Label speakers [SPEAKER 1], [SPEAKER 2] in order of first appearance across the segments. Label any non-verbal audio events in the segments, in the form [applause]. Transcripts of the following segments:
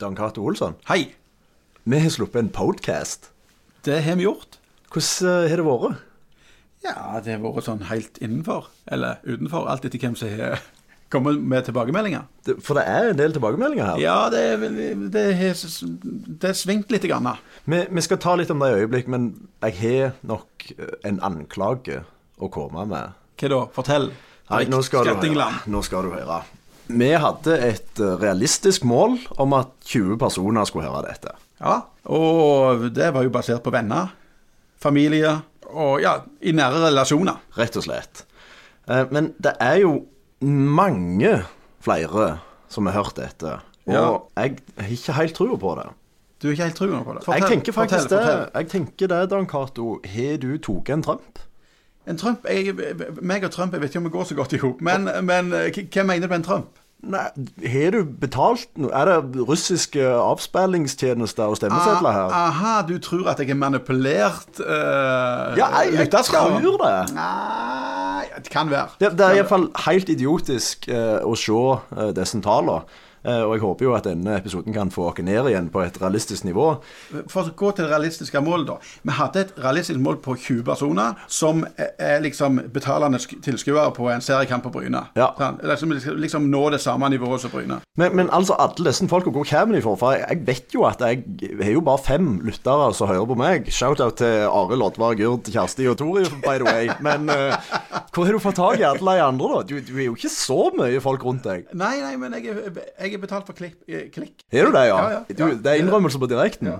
[SPEAKER 1] Dan Cato Olsson.
[SPEAKER 2] Hei!
[SPEAKER 1] Vi har sluppet en podcast.
[SPEAKER 2] Det har vi gjort.
[SPEAKER 1] Hvordan eh, har det vært?
[SPEAKER 2] Ja, det har vært sånn helt innenfor, eller utenfor, alt etter hvem som har kommet med tilbakemeldinger.
[SPEAKER 1] Det- For det er en del tilbakemeldinger her.
[SPEAKER 2] Ja, det, er vel- det, har s- det har svingt litt. Grann. da.
[SPEAKER 1] Vi, vi skal ta litt om det i øyeblikk, men jeg har nok eh, en anklage å komme med.
[SPEAKER 2] Hva da? Fortell.
[SPEAKER 1] Nei, nå skal, du høre.
[SPEAKER 2] Skrettingland.
[SPEAKER 1] nå skal du høre. Vi hadde et eh, realistisk mål om at 20 personer skulle høre dette.
[SPEAKER 2] Ja, og det var jo basert på venner, familie og ja, i nære relasjoner.
[SPEAKER 1] Rett og slett. Eh, Men det er jo mange flere som har hørt dette. Og
[SPEAKER 2] Ja.
[SPEAKER 1] jeg har ikke helt trua på det.
[SPEAKER 2] Du er ikke helt trua på det?
[SPEAKER 1] jeg tenker faktisk
[SPEAKER 2] fortell, fortell.
[SPEAKER 1] det, jeg tenker det, Dan Cato. Har du tatt en Trump?
[SPEAKER 2] En Trump, jeg, meg og Trump, jeg vet ikke om vi går så godt i hop, men, men eh, hva hva mener du med en Trump?
[SPEAKER 1] Nei, har du betalt noe? Er det russiske avspillingstjenester og stemmesedler her?
[SPEAKER 2] Ah, aha, du tror at jeg er manipulert? Uh,
[SPEAKER 1] Ja, jeg- jeg tror det.
[SPEAKER 2] Nei, det kan være.
[SPEAKER 1] Det, det er iallfall helt idiotisk eh, å se eh, disse tallene. Eh, og jeg håper jo at denne episoden kan få oss ned igjen på et realistisk nivå.
[SPEAKER 2] For å gå til det realistiske målet, da. Vi hadde et realistisk mål på 20 personer som er- er liksom betalende sk- tilskuere på en seriekamp på Bryne.
[SPEAKER 1] Ja.
[SPEAKER 2] Sånn, Liksom, liksom nå det samme nivået som Bryne.
[SPEAKER 1] Men, men altså, alle disse folka, hvor kommer de fra? For jeg, jeg vet jo at jeg har jo bare fem lyttere som hører på meg. Shout-out til Arild, Oddvar, Gurd, Kjersti og Tori, by the way. Men eh, hvor har du fått tak i alle de andre, da? Du, du er jo ikke så mye folk rundt deg.
[SPEAKER 2] Nei, nei, men jeg er, jeg er betalt for klipp, eh, klikk.
[SPEAKER 1] Er du det, ja?
[SPEAKER 2] Ja, ja,
[SPEAKER 1] Du,
[SPEAKER 2] ja.
[SPEAKER 1] det er innrømmelse på direkten.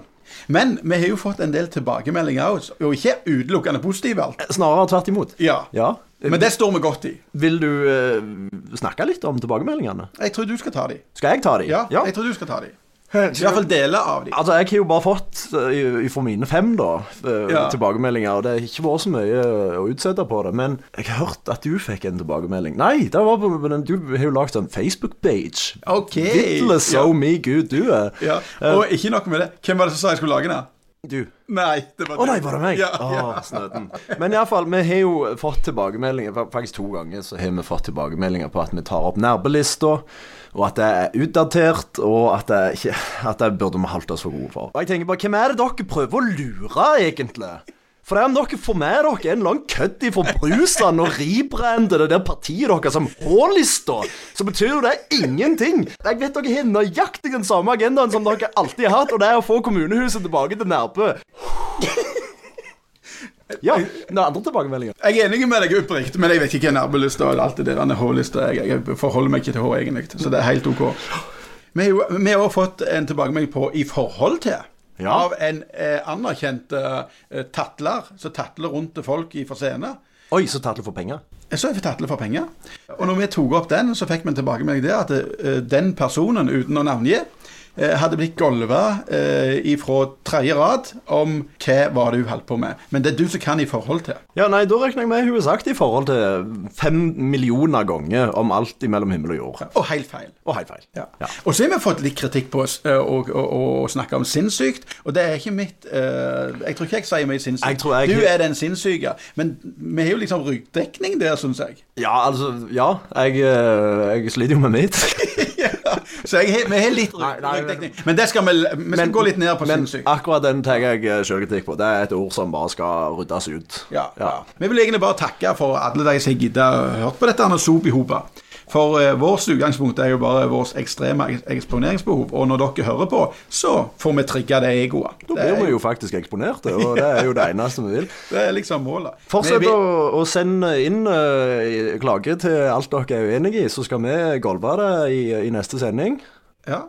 [SPEAKER 2] Men vi har jo fått en del tilbakemeldinger også, og ikke utelukkende positive alt.
[SPEAKER 1] Snarere tvert imot.
[SPEAKER 2] Ja.
[SPEAKER 1] Ja.
[SPEAKER 2] Men det står vi godt i.
[SPEAKER 1] Vil du eh, snakke litt om tilbakemeldingene?
[SPEAKER 2] Jeg tror du skal ta de.
[SPEAKER 1] Skal jeg ta de?
[SPEAKER 2] Ja, jeg tror du skal ta de. I hvert fall deler av de.
[SPEAKER 1] Altså, jeg har jo bare fått eh, fra mine fem da, eh,
[SPEAKER 2] Ja.
[SPEAKER 1] tilbakemeldinger, og det har ikke vært så mye eh, å utsette på det. Men jeg har hørt at du fikk en tilbakemelding. Nei, det var på, men du har jo lagd en Facebook-page.
[SPEAKER 2] Ok.
[SPEAKER 1] Vittle so
[SPEAKER 2] Ja.
[SPEAKER 1] me good du er.
[SPEAKER 2] Ja. Og ikke nok med det. Hvem var det som sa jeg skulle lage den?
[SPEAKER 1] Du.
[SPEAKER 2] Nei, det var
[SPEAKER 1] Å nei, var det meg? Ah.
[SPEAKER 2] Ja,
[SPEAKER 1] Å,
[SPEAKER 2] ja.
[SPEAKER 1] snøten. Men iallfall, vi har jo fått tilbakemeldinger fa- Faktisk to ganger så har vi fått tilbakemeldinger på at vi tar opp nærbelista, og at det er utdatert, og at det, ikke, at det burde vi holdt oss for gode for. Og jeg tenker bare, hvem er det dere prøver å lure, egentlig? For det er om dere får med dere en lang kødd fra Brusland og rebrander det der partiet deres som H-lista, så betyr jo det ingenting. Jeg vet dere har nøyaktig den samme agendaen som dere alltid har hatt, og det er å få kommunehuset tilbake til Nærbø. Ja, det er andre tilbakemeldinger.
[SPEAKER 2] Jeg er enig med deg oppriktig, men jeg vet ikke hva nærbelista og alt det der H-lista jeg, jeg forholder meg ikke til H egentlig, så det er helt OK. Vi har jo- vi har også fått en tilbakemelding på 'i forhold til'
[SPEAKER 1] Ja.
[SPEAKER 2] av en eh, anerkjent eh, tatler som tatler rundt til folk i for scene.
[SPEAKER 1] Oi, så tatt du for penger.
[SPEAKER 2] Så er vi tatle for penger. Og når vi tok opp den, så fikk vi en tilbakemelding der at eh, den personen, uten å navngi, eh, hadde blitt golva eh, ifra tredje rad om hva var det hun holdt på med. Men det er du som kan i forhold til.
[SPEAKER 1] Ja, nei, da regner jeg med hun har sagt i forhold til fem millioner ganger om alt imellom himmel og jord.
[SPEAKER 2] Og helt feil.
[SPEAKER 1] Og helt feil.
[SPEAKER 2] Ja.
[SPEAKER 1] Ja.
[SPEAKER 2] Og så har vi fått litt kritikk på oss eh, å, å, å snakke om sinnssykt, og det er ikke mitt eh, Jeg tror ikke jeg sier mye sinnssykt.
[SPEAKER 1] Jeg tror jeg-
[SPEAKER 2] Du er den sinnssyke. Men vi har jo liksom ryggdekning der, syns jeg.
[SPEAKER 1] Ja, altså, ja. Jeg, eh, jeg sliter jo med mitt.
[SPEAKER 2] ja. Så jeg, har- vi har litt
[SPEAKER 1] Nei, nei, men-
[SPEAKER 2] ryggdekning. Men det skal vi, vi skal gå litt ned på
[SPEAKER 1] men
[SPEAKER 2] sinnssykt.
[SPEAKER 1] akkurat den tar jeg eh, sjølkritikk på. Det er et ord som bare skal ryddes ut.
[SPEAKER 2] Ja, Vi vil egentlig bare takke for alle de som gidder å høre på dette Anna Sop i hopa. For eh, vårt utgangspunkt er jo bare vårt ekstreme eks- eksponeringsbehov. Og når dere hører på, så får vi trigga det egoet.
[SPEAKER 1] Da
[SPEAKER 2] Det
[SPEAKER 1] blir vi
[SPEAKER 2] er,
[SPEAKER 1] jo faktisk eksponerte, og det er jo det eneste vi vil.
[SPEAKER 2] det er liksom målet.
[SPEAKER 1] Fortsett
[SPEAKER 2] Vi- vi-
[SPEAKER 1] å, å sende inn uh, klager til alt dere er uenige i, så skal vi golve det i, i neste sending.
[SPEAKER 2] Ja.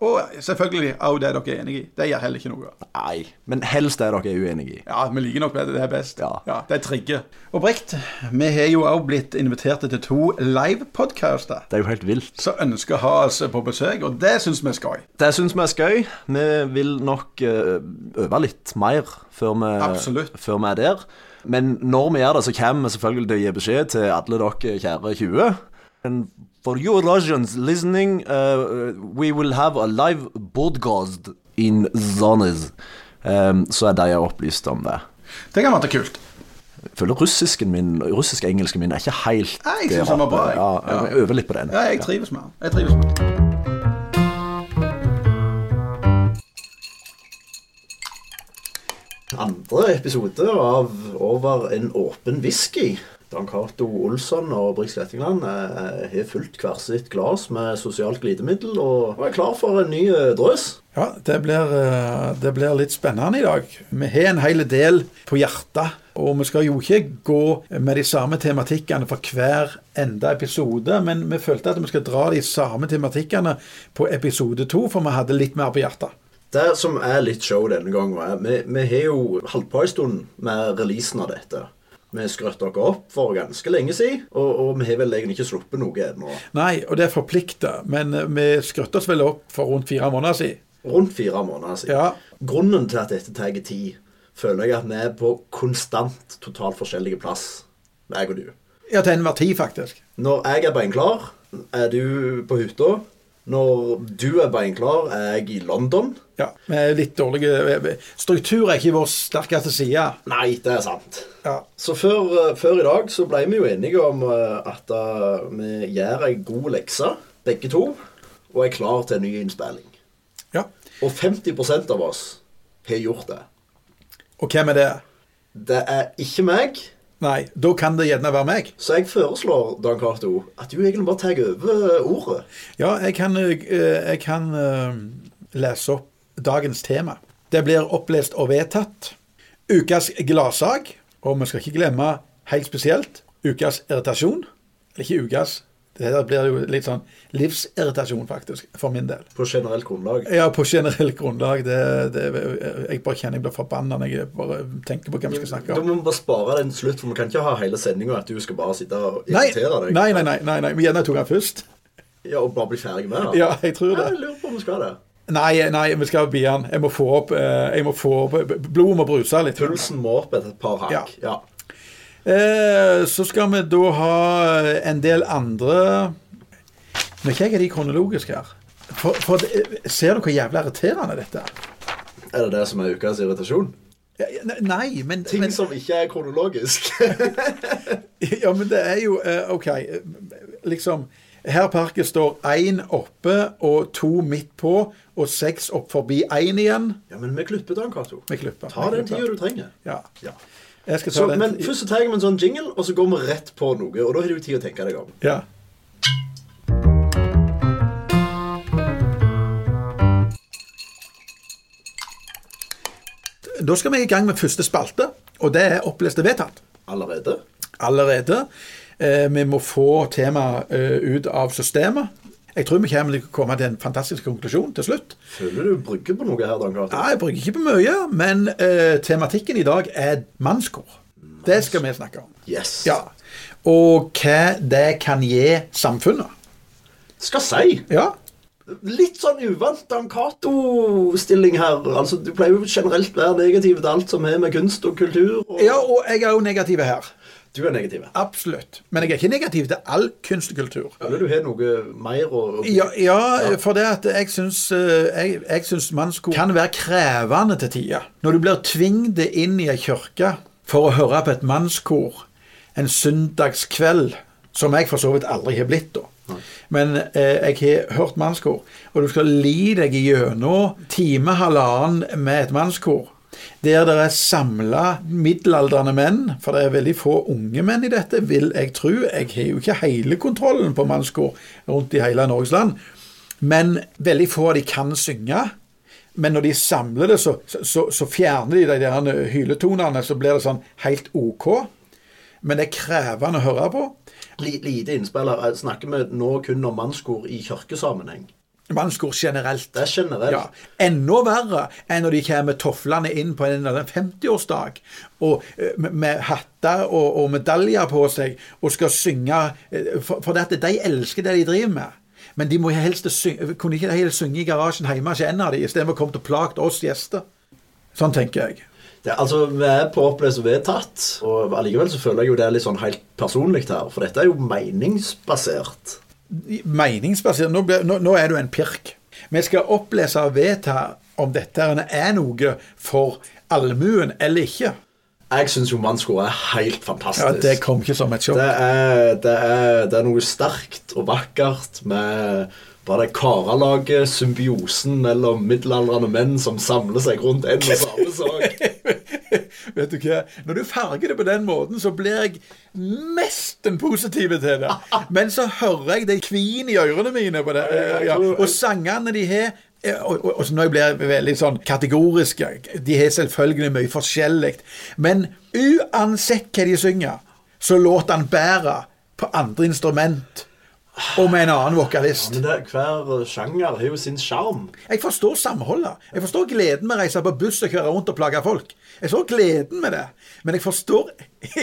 [SPEAKER 2] Og selvfølgelig òg det dere er enig i. Det gjør heller ikke noe.
[SPEAKER 1] Nei, men helst det dere er uenige i.
[SPEAKER 2] Ja, vi liker nok det. Det er best.
[SPEAKER 1] Ja.
[SPEAKER 2] Det trigger. Og Brikt, vi har jo òg blitt invitert til to livepodcaster
[SPEAKER 1] Det er jo helt vilt.
[SPEAKER 2] som ønsker å ha oss på besøk, og det syns vi skal.
[SPEAKER 1] Det syns vi er skøy. Vi vil nok eh, øve litt mer før vi,
[SPEAKER 2] Absolutt.
[SPEAKER 1] før vi er der. Men når vi gjør det, så kommer vi selvfølgelig til å gi beskjed til alle dere kjære 20. And for you Russians listening, uh, we will have a live podcast in Zones. Um, så er de opplyst om det.
[SPEAKER 2] Det kan være kult.
[SPEAKER 1] Jeg føler russisken min, russisk-engelsken min er ikke helt
[SPEAKER 2] Nei, jeg
[SPEAKER 1] der
[SPEAKER 2] synes den var
[SPEAKER 1] oppe.
[SPEAKER 2] bra, jeg.
[SPEAKER 1] Ja, jeg øver litt på den.
[SPEAKER 2] Ja, jeg trives med den. Jeg trives med den.
[SPEAKER 1] andre episode av Over en åpen whisky. Dan Cato Olsson og Brix Lettingland eh, har fulgt hvert sitt glass med sosialt glidemiddel og er klar for en ny eh, drøs.
[SPEAKER 2] Ja, det blir, eh, det blir litt spennende i dag. Vi har en hel del på hjertet. Og vi skal jo ikke gå med de samme tematikkene for hver enda episode, men vi følte at vi skal dra de samme tematikkene på episode to, for vi hadde litt mer på hjertet.
[SPEAKER 1] Det som er litt show denne gangen, er vi, vi har jo holdt på en stund med releasen av dette. Vi skrøt dere opp for ganske lenge siden, og, og vi har vel egentlig ikke sluppet noe ennå.
[SPEAKER 2] Nei, og det forplikter, men eh, vi skrøtte oss vel opp for rundt fire måneder siden.
[SPEAKER 1] Rundt fire måneder siden.
[SPEAKER 2] Ja.
[SPEAKER 1] Grunnen til at dette tar tid, føler jeg at vi er på konstant totalt forskjellige plass, meg og du.
[SPEAKER 2] Ja, til enhver tid, faktisk.
[SPEAKER 1] Når jeg er beinklar, er du på hytta. Når du er beinklar, er jeg i London.
[SPEAKER 2] Ja, vi er litt dårlige eh, Struktur er ikke vår sterkeste side.
[SPEAKER 1] Nei, det er sant.
[SPEAKER 2] Ja.
[SPEAKER 1] Så før, eh, før i dag så ble vi jo enige om eh, at eh, vi gjør ei god lekse, begge to, og er klar til en ny innspilling.
[SPEAKER 2] ja.
[SPEAKER 1] Og 50 av oss har gjort det.
[SPEAKER 2] Og hvem er det?
[SPEAKER 1] Det er ikke meg,
[SPEAKER 2] Nei, da kan det gjerne være meg.
[SPEAKER 1] så jeg foreslår, Dan Cato, at du egentlig bare tar over eh, ordet.
[SPEAKER 2] Ja, jeg kan, eh, jeg kan eh, lese opp dagens tema. Det blir opplest og vedtatt. Ukas gladsak, og vi skal ikke glemme helt spesielt ukas irritasjon. Eller ikke ukas, det her blir jo litt sånn livsirritasjon, faktisk, for min del.
[SPEAKER 1] På generelt grunnlag.
[SPEAKER 2] Ja, på generelt grunnlag. Det, det, jeg bare kjenner jeg blir forbanna når jeg bare tenker på hvem vi skal snakke
[SPEAKER 1] Da
[SPEAKER 2] om.
[SPEAKER 1] må vi bare spare den til slutt, for vi kan ikke ha hele sendinga at du skal bare sitte og
[SPEAKER 2] Nei,
[SPEAKER 1] irritere deg.
[SPEAKER 2] nei, nei. nei, nei, nei. Men Gjerne jeg tok han først.
[SPEAKER 1] Ja, Og bare bli ferdig med det.
[SPEAKER 2] Ja, jeg tror det.
[SPEAKER 1] Jeg lurer på om vi skal det.
[SPEAKER 2] Nei, nei, vi skal bli han. Jeg må få opp, eh, jeg må få opp Blodet må bruse litt.
[SPEAKER 1] Pulsen må opp etter et par hakk. Ja.
[SPEAKER 2] Eh, så skal vi da ha en del andre Nå er ikke jeg de kronologiske her. For, for det, ser du hvor jævla irriterende dette er?
[SPEAKER 1] Er det det som er ukas irritasjon?
[SPEAKER 2] Ja, ja, Nei, men,
[SPEAKER 1] Ting
[SPEAKER 2] men
[SPEAKER 1] som ikke er kronologisk.
[SPEAKER 2] [laughs] Ja, men det er jo eh, OK. eh, Liksom Her parket står én oppe og to midt på, og seks opp forbi én igjen.
[SPEAKER 1] ja, men vi klipper den, Cato.
[SPEAKER 2] Med klipper.
[SPEAKER 1] Ta
[SPEAKER 2] med
[SPEAKER 1] den
[SPEAKER 2] klipper.
[SPEAKER 1] tida du trenger.
[SPEAKER 2] Ja.
[SPEAKER 1] Ja.
[SPEAKER 2] Jeg skal ta
[SPEAKER 1] Så,
[SPEAKER 2] den.
[SPEAKER 1] men først så tar jeg med en sånn jingle, og så går vi rett på noe. Og da har du tid å tenke deg om.
[SPEAKER 2] Ja. Da skal vi i gang med første spalte, og det er opplest og vedtatt
[SPEAKER 1] Allerede?
[SPEAKER 2] allerede. Eh, vi må få temaet eh, ut av systemet. Jeg tror vi kommer til å komme til en fantastisk konklusjon til slutt.
[SPEAKER 1] Føler du brygger på noe her, Dan Cato?
[SPEAKER 2] Ja, jeg bruker ikke på mye, men eh, tematikken i dag er mannskor. Det skal vi snakke om.
[SPEAKER 1] Yes.
[SPEAKER 2] Ja. Og hva det kan gi samfunnet.
[SPEAKER 1] Skal si.
[SPEAKER 2] Ja.
[SPEAKER 1] Litt sånn uvant Dan Cato-stilling her. Altså, Du pleier jo generelt være negativ til alt som har med kunst og kultur og
[SPEAKER 2] ja, og jeg er jo negativ her.
[SPEAKER 1] Du er negativ.
[SPEAKER 2] Absolutt. Men jeg er ikke negativ til all kunst og kultur.
[SPEAKER 1] Føler du har noe mer å å-
[SPEAKER 2] Ja, ja, for det at jeg syns, eh, jeg, jeg syns mannskor kan være krevende til tider. Når du blir tvunget inn i ei kirke for å høre på et mannskor en søndagskveld, som jeg for så vidt aldri har blitt da. Men eh, jeg har hørt mannskor, og du skal li deg gjennom time, halvannen med et mannskor. Der det er samla middelaldrende menn, for det er veldig få unge menn i dette, vil jeg tro. Jeg har jo ikke hele kontrollen på mannskor rundt i hele Norges land. Men veldig få av de kan synge. Men når de samler det, så, så, så fjerner de de der eh, hyletonene, så blir det sånn helt OK. Men det er krevende å høre på.
[SPEAKER 1] Li, lite innspill her. Jeg Snakker vi nå kun om mannskor i kirkesammenheng?
[SPEAKER 2] Mannskor generelt.
[SPEAKER 1] Det er generelt.
[SPEAKER 2] Ja, Enda verre enn når de kommer toflene inn på en eller annen 50-årsdag og eh, med- med hatter og, og medaljer på seg og skal synge eh, For, for dette, de elsker det de driver med. Men de må helst synge, kunne ikke de helst synge i garasjen hjemme hos en av dem, istedenfor å komme til å plage oss gjester. Sånn tenker jeg.
[SPEAKER 1] Det, altså, Vi er på oppløs og vedtatt, og allikevel så føler jeg jo det er litt sånn helt personlig her. For dette er jo meningsbasert.
[SPEAKER 2] Meningsbasert Nå, ble, nå, nå er du en pirk. Vi skal opplese og vedta om dette er noe for allmuen eller ikke.
[SPEAKER 1] Jeg syns jo mannskor er helt fantastisk.
[SPEAKER 2] Ja, Det kom ikke som et sjokk.
[SPEAKER 1] Det er, det, er, det er noe sterkt og vakkert med bare det karalaget, symbiosen mellom middelaldrende menn som samler seg rundt en og samme sak.
[SPEAKER 2] Vet du hva? Når du farger det på den måten, så blir jeg nesten positiv til det. Men så hører jeg det kvin i ørene mine på det. eh, Ja. Og sangene de har eh, og, og, og så Nå blir jeg veldig sånn kategorisk. De har selvfølgelig mye forskjellig. Men uansett hva de synger, så låter han bedre på andre instrument og med en annen vokalist.
[SPEAKER 1] Men det, hver sjanger har jo sin sjarm.
[SPEAKER 2] Jeg forstår samholdet. Jeg forstår gleden med å reise på buss og kjøre rundt og plage folk. Jeg forstår gleden med det. Men jeg forstår [laughs]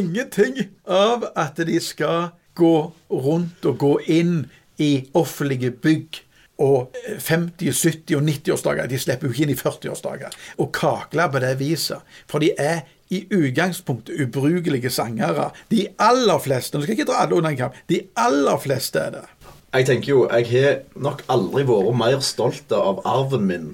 [SPEAKER 2] ingenting av at de skal gå rundt og gå inn i offentlige bygg. Og 50-, 70- og 90-årsdager. De slipper jo ikke inn i 40-årsdager. Og kakle på det viset. For de er i utgangspunktet ubrukelige sangere. De aller fleste. Nå skal jeg ikke dra alle under en kamp. De aller fleste er det.
[SPEAKER 1] Jeg tenker jo, jeg har nok aldri vært mer stolt av arven min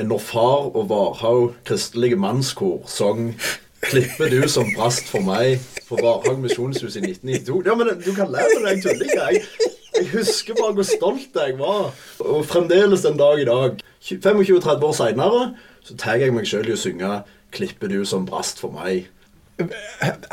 [SPEAKER 1] enn når far og Varhaug kristelige mannskor sang 'Klippe du som brast for meg' på Varhaug misjonshus i 1992. Ja, men du kan le med det, jeg tuller ikke. Jeg, jeg husker bare hvor stolt jeg var. Og fremdeles den dag i dag, 25-30 år seinere, så tar jeg meg sjøl i å synge 'Klippe du som brast for meg'.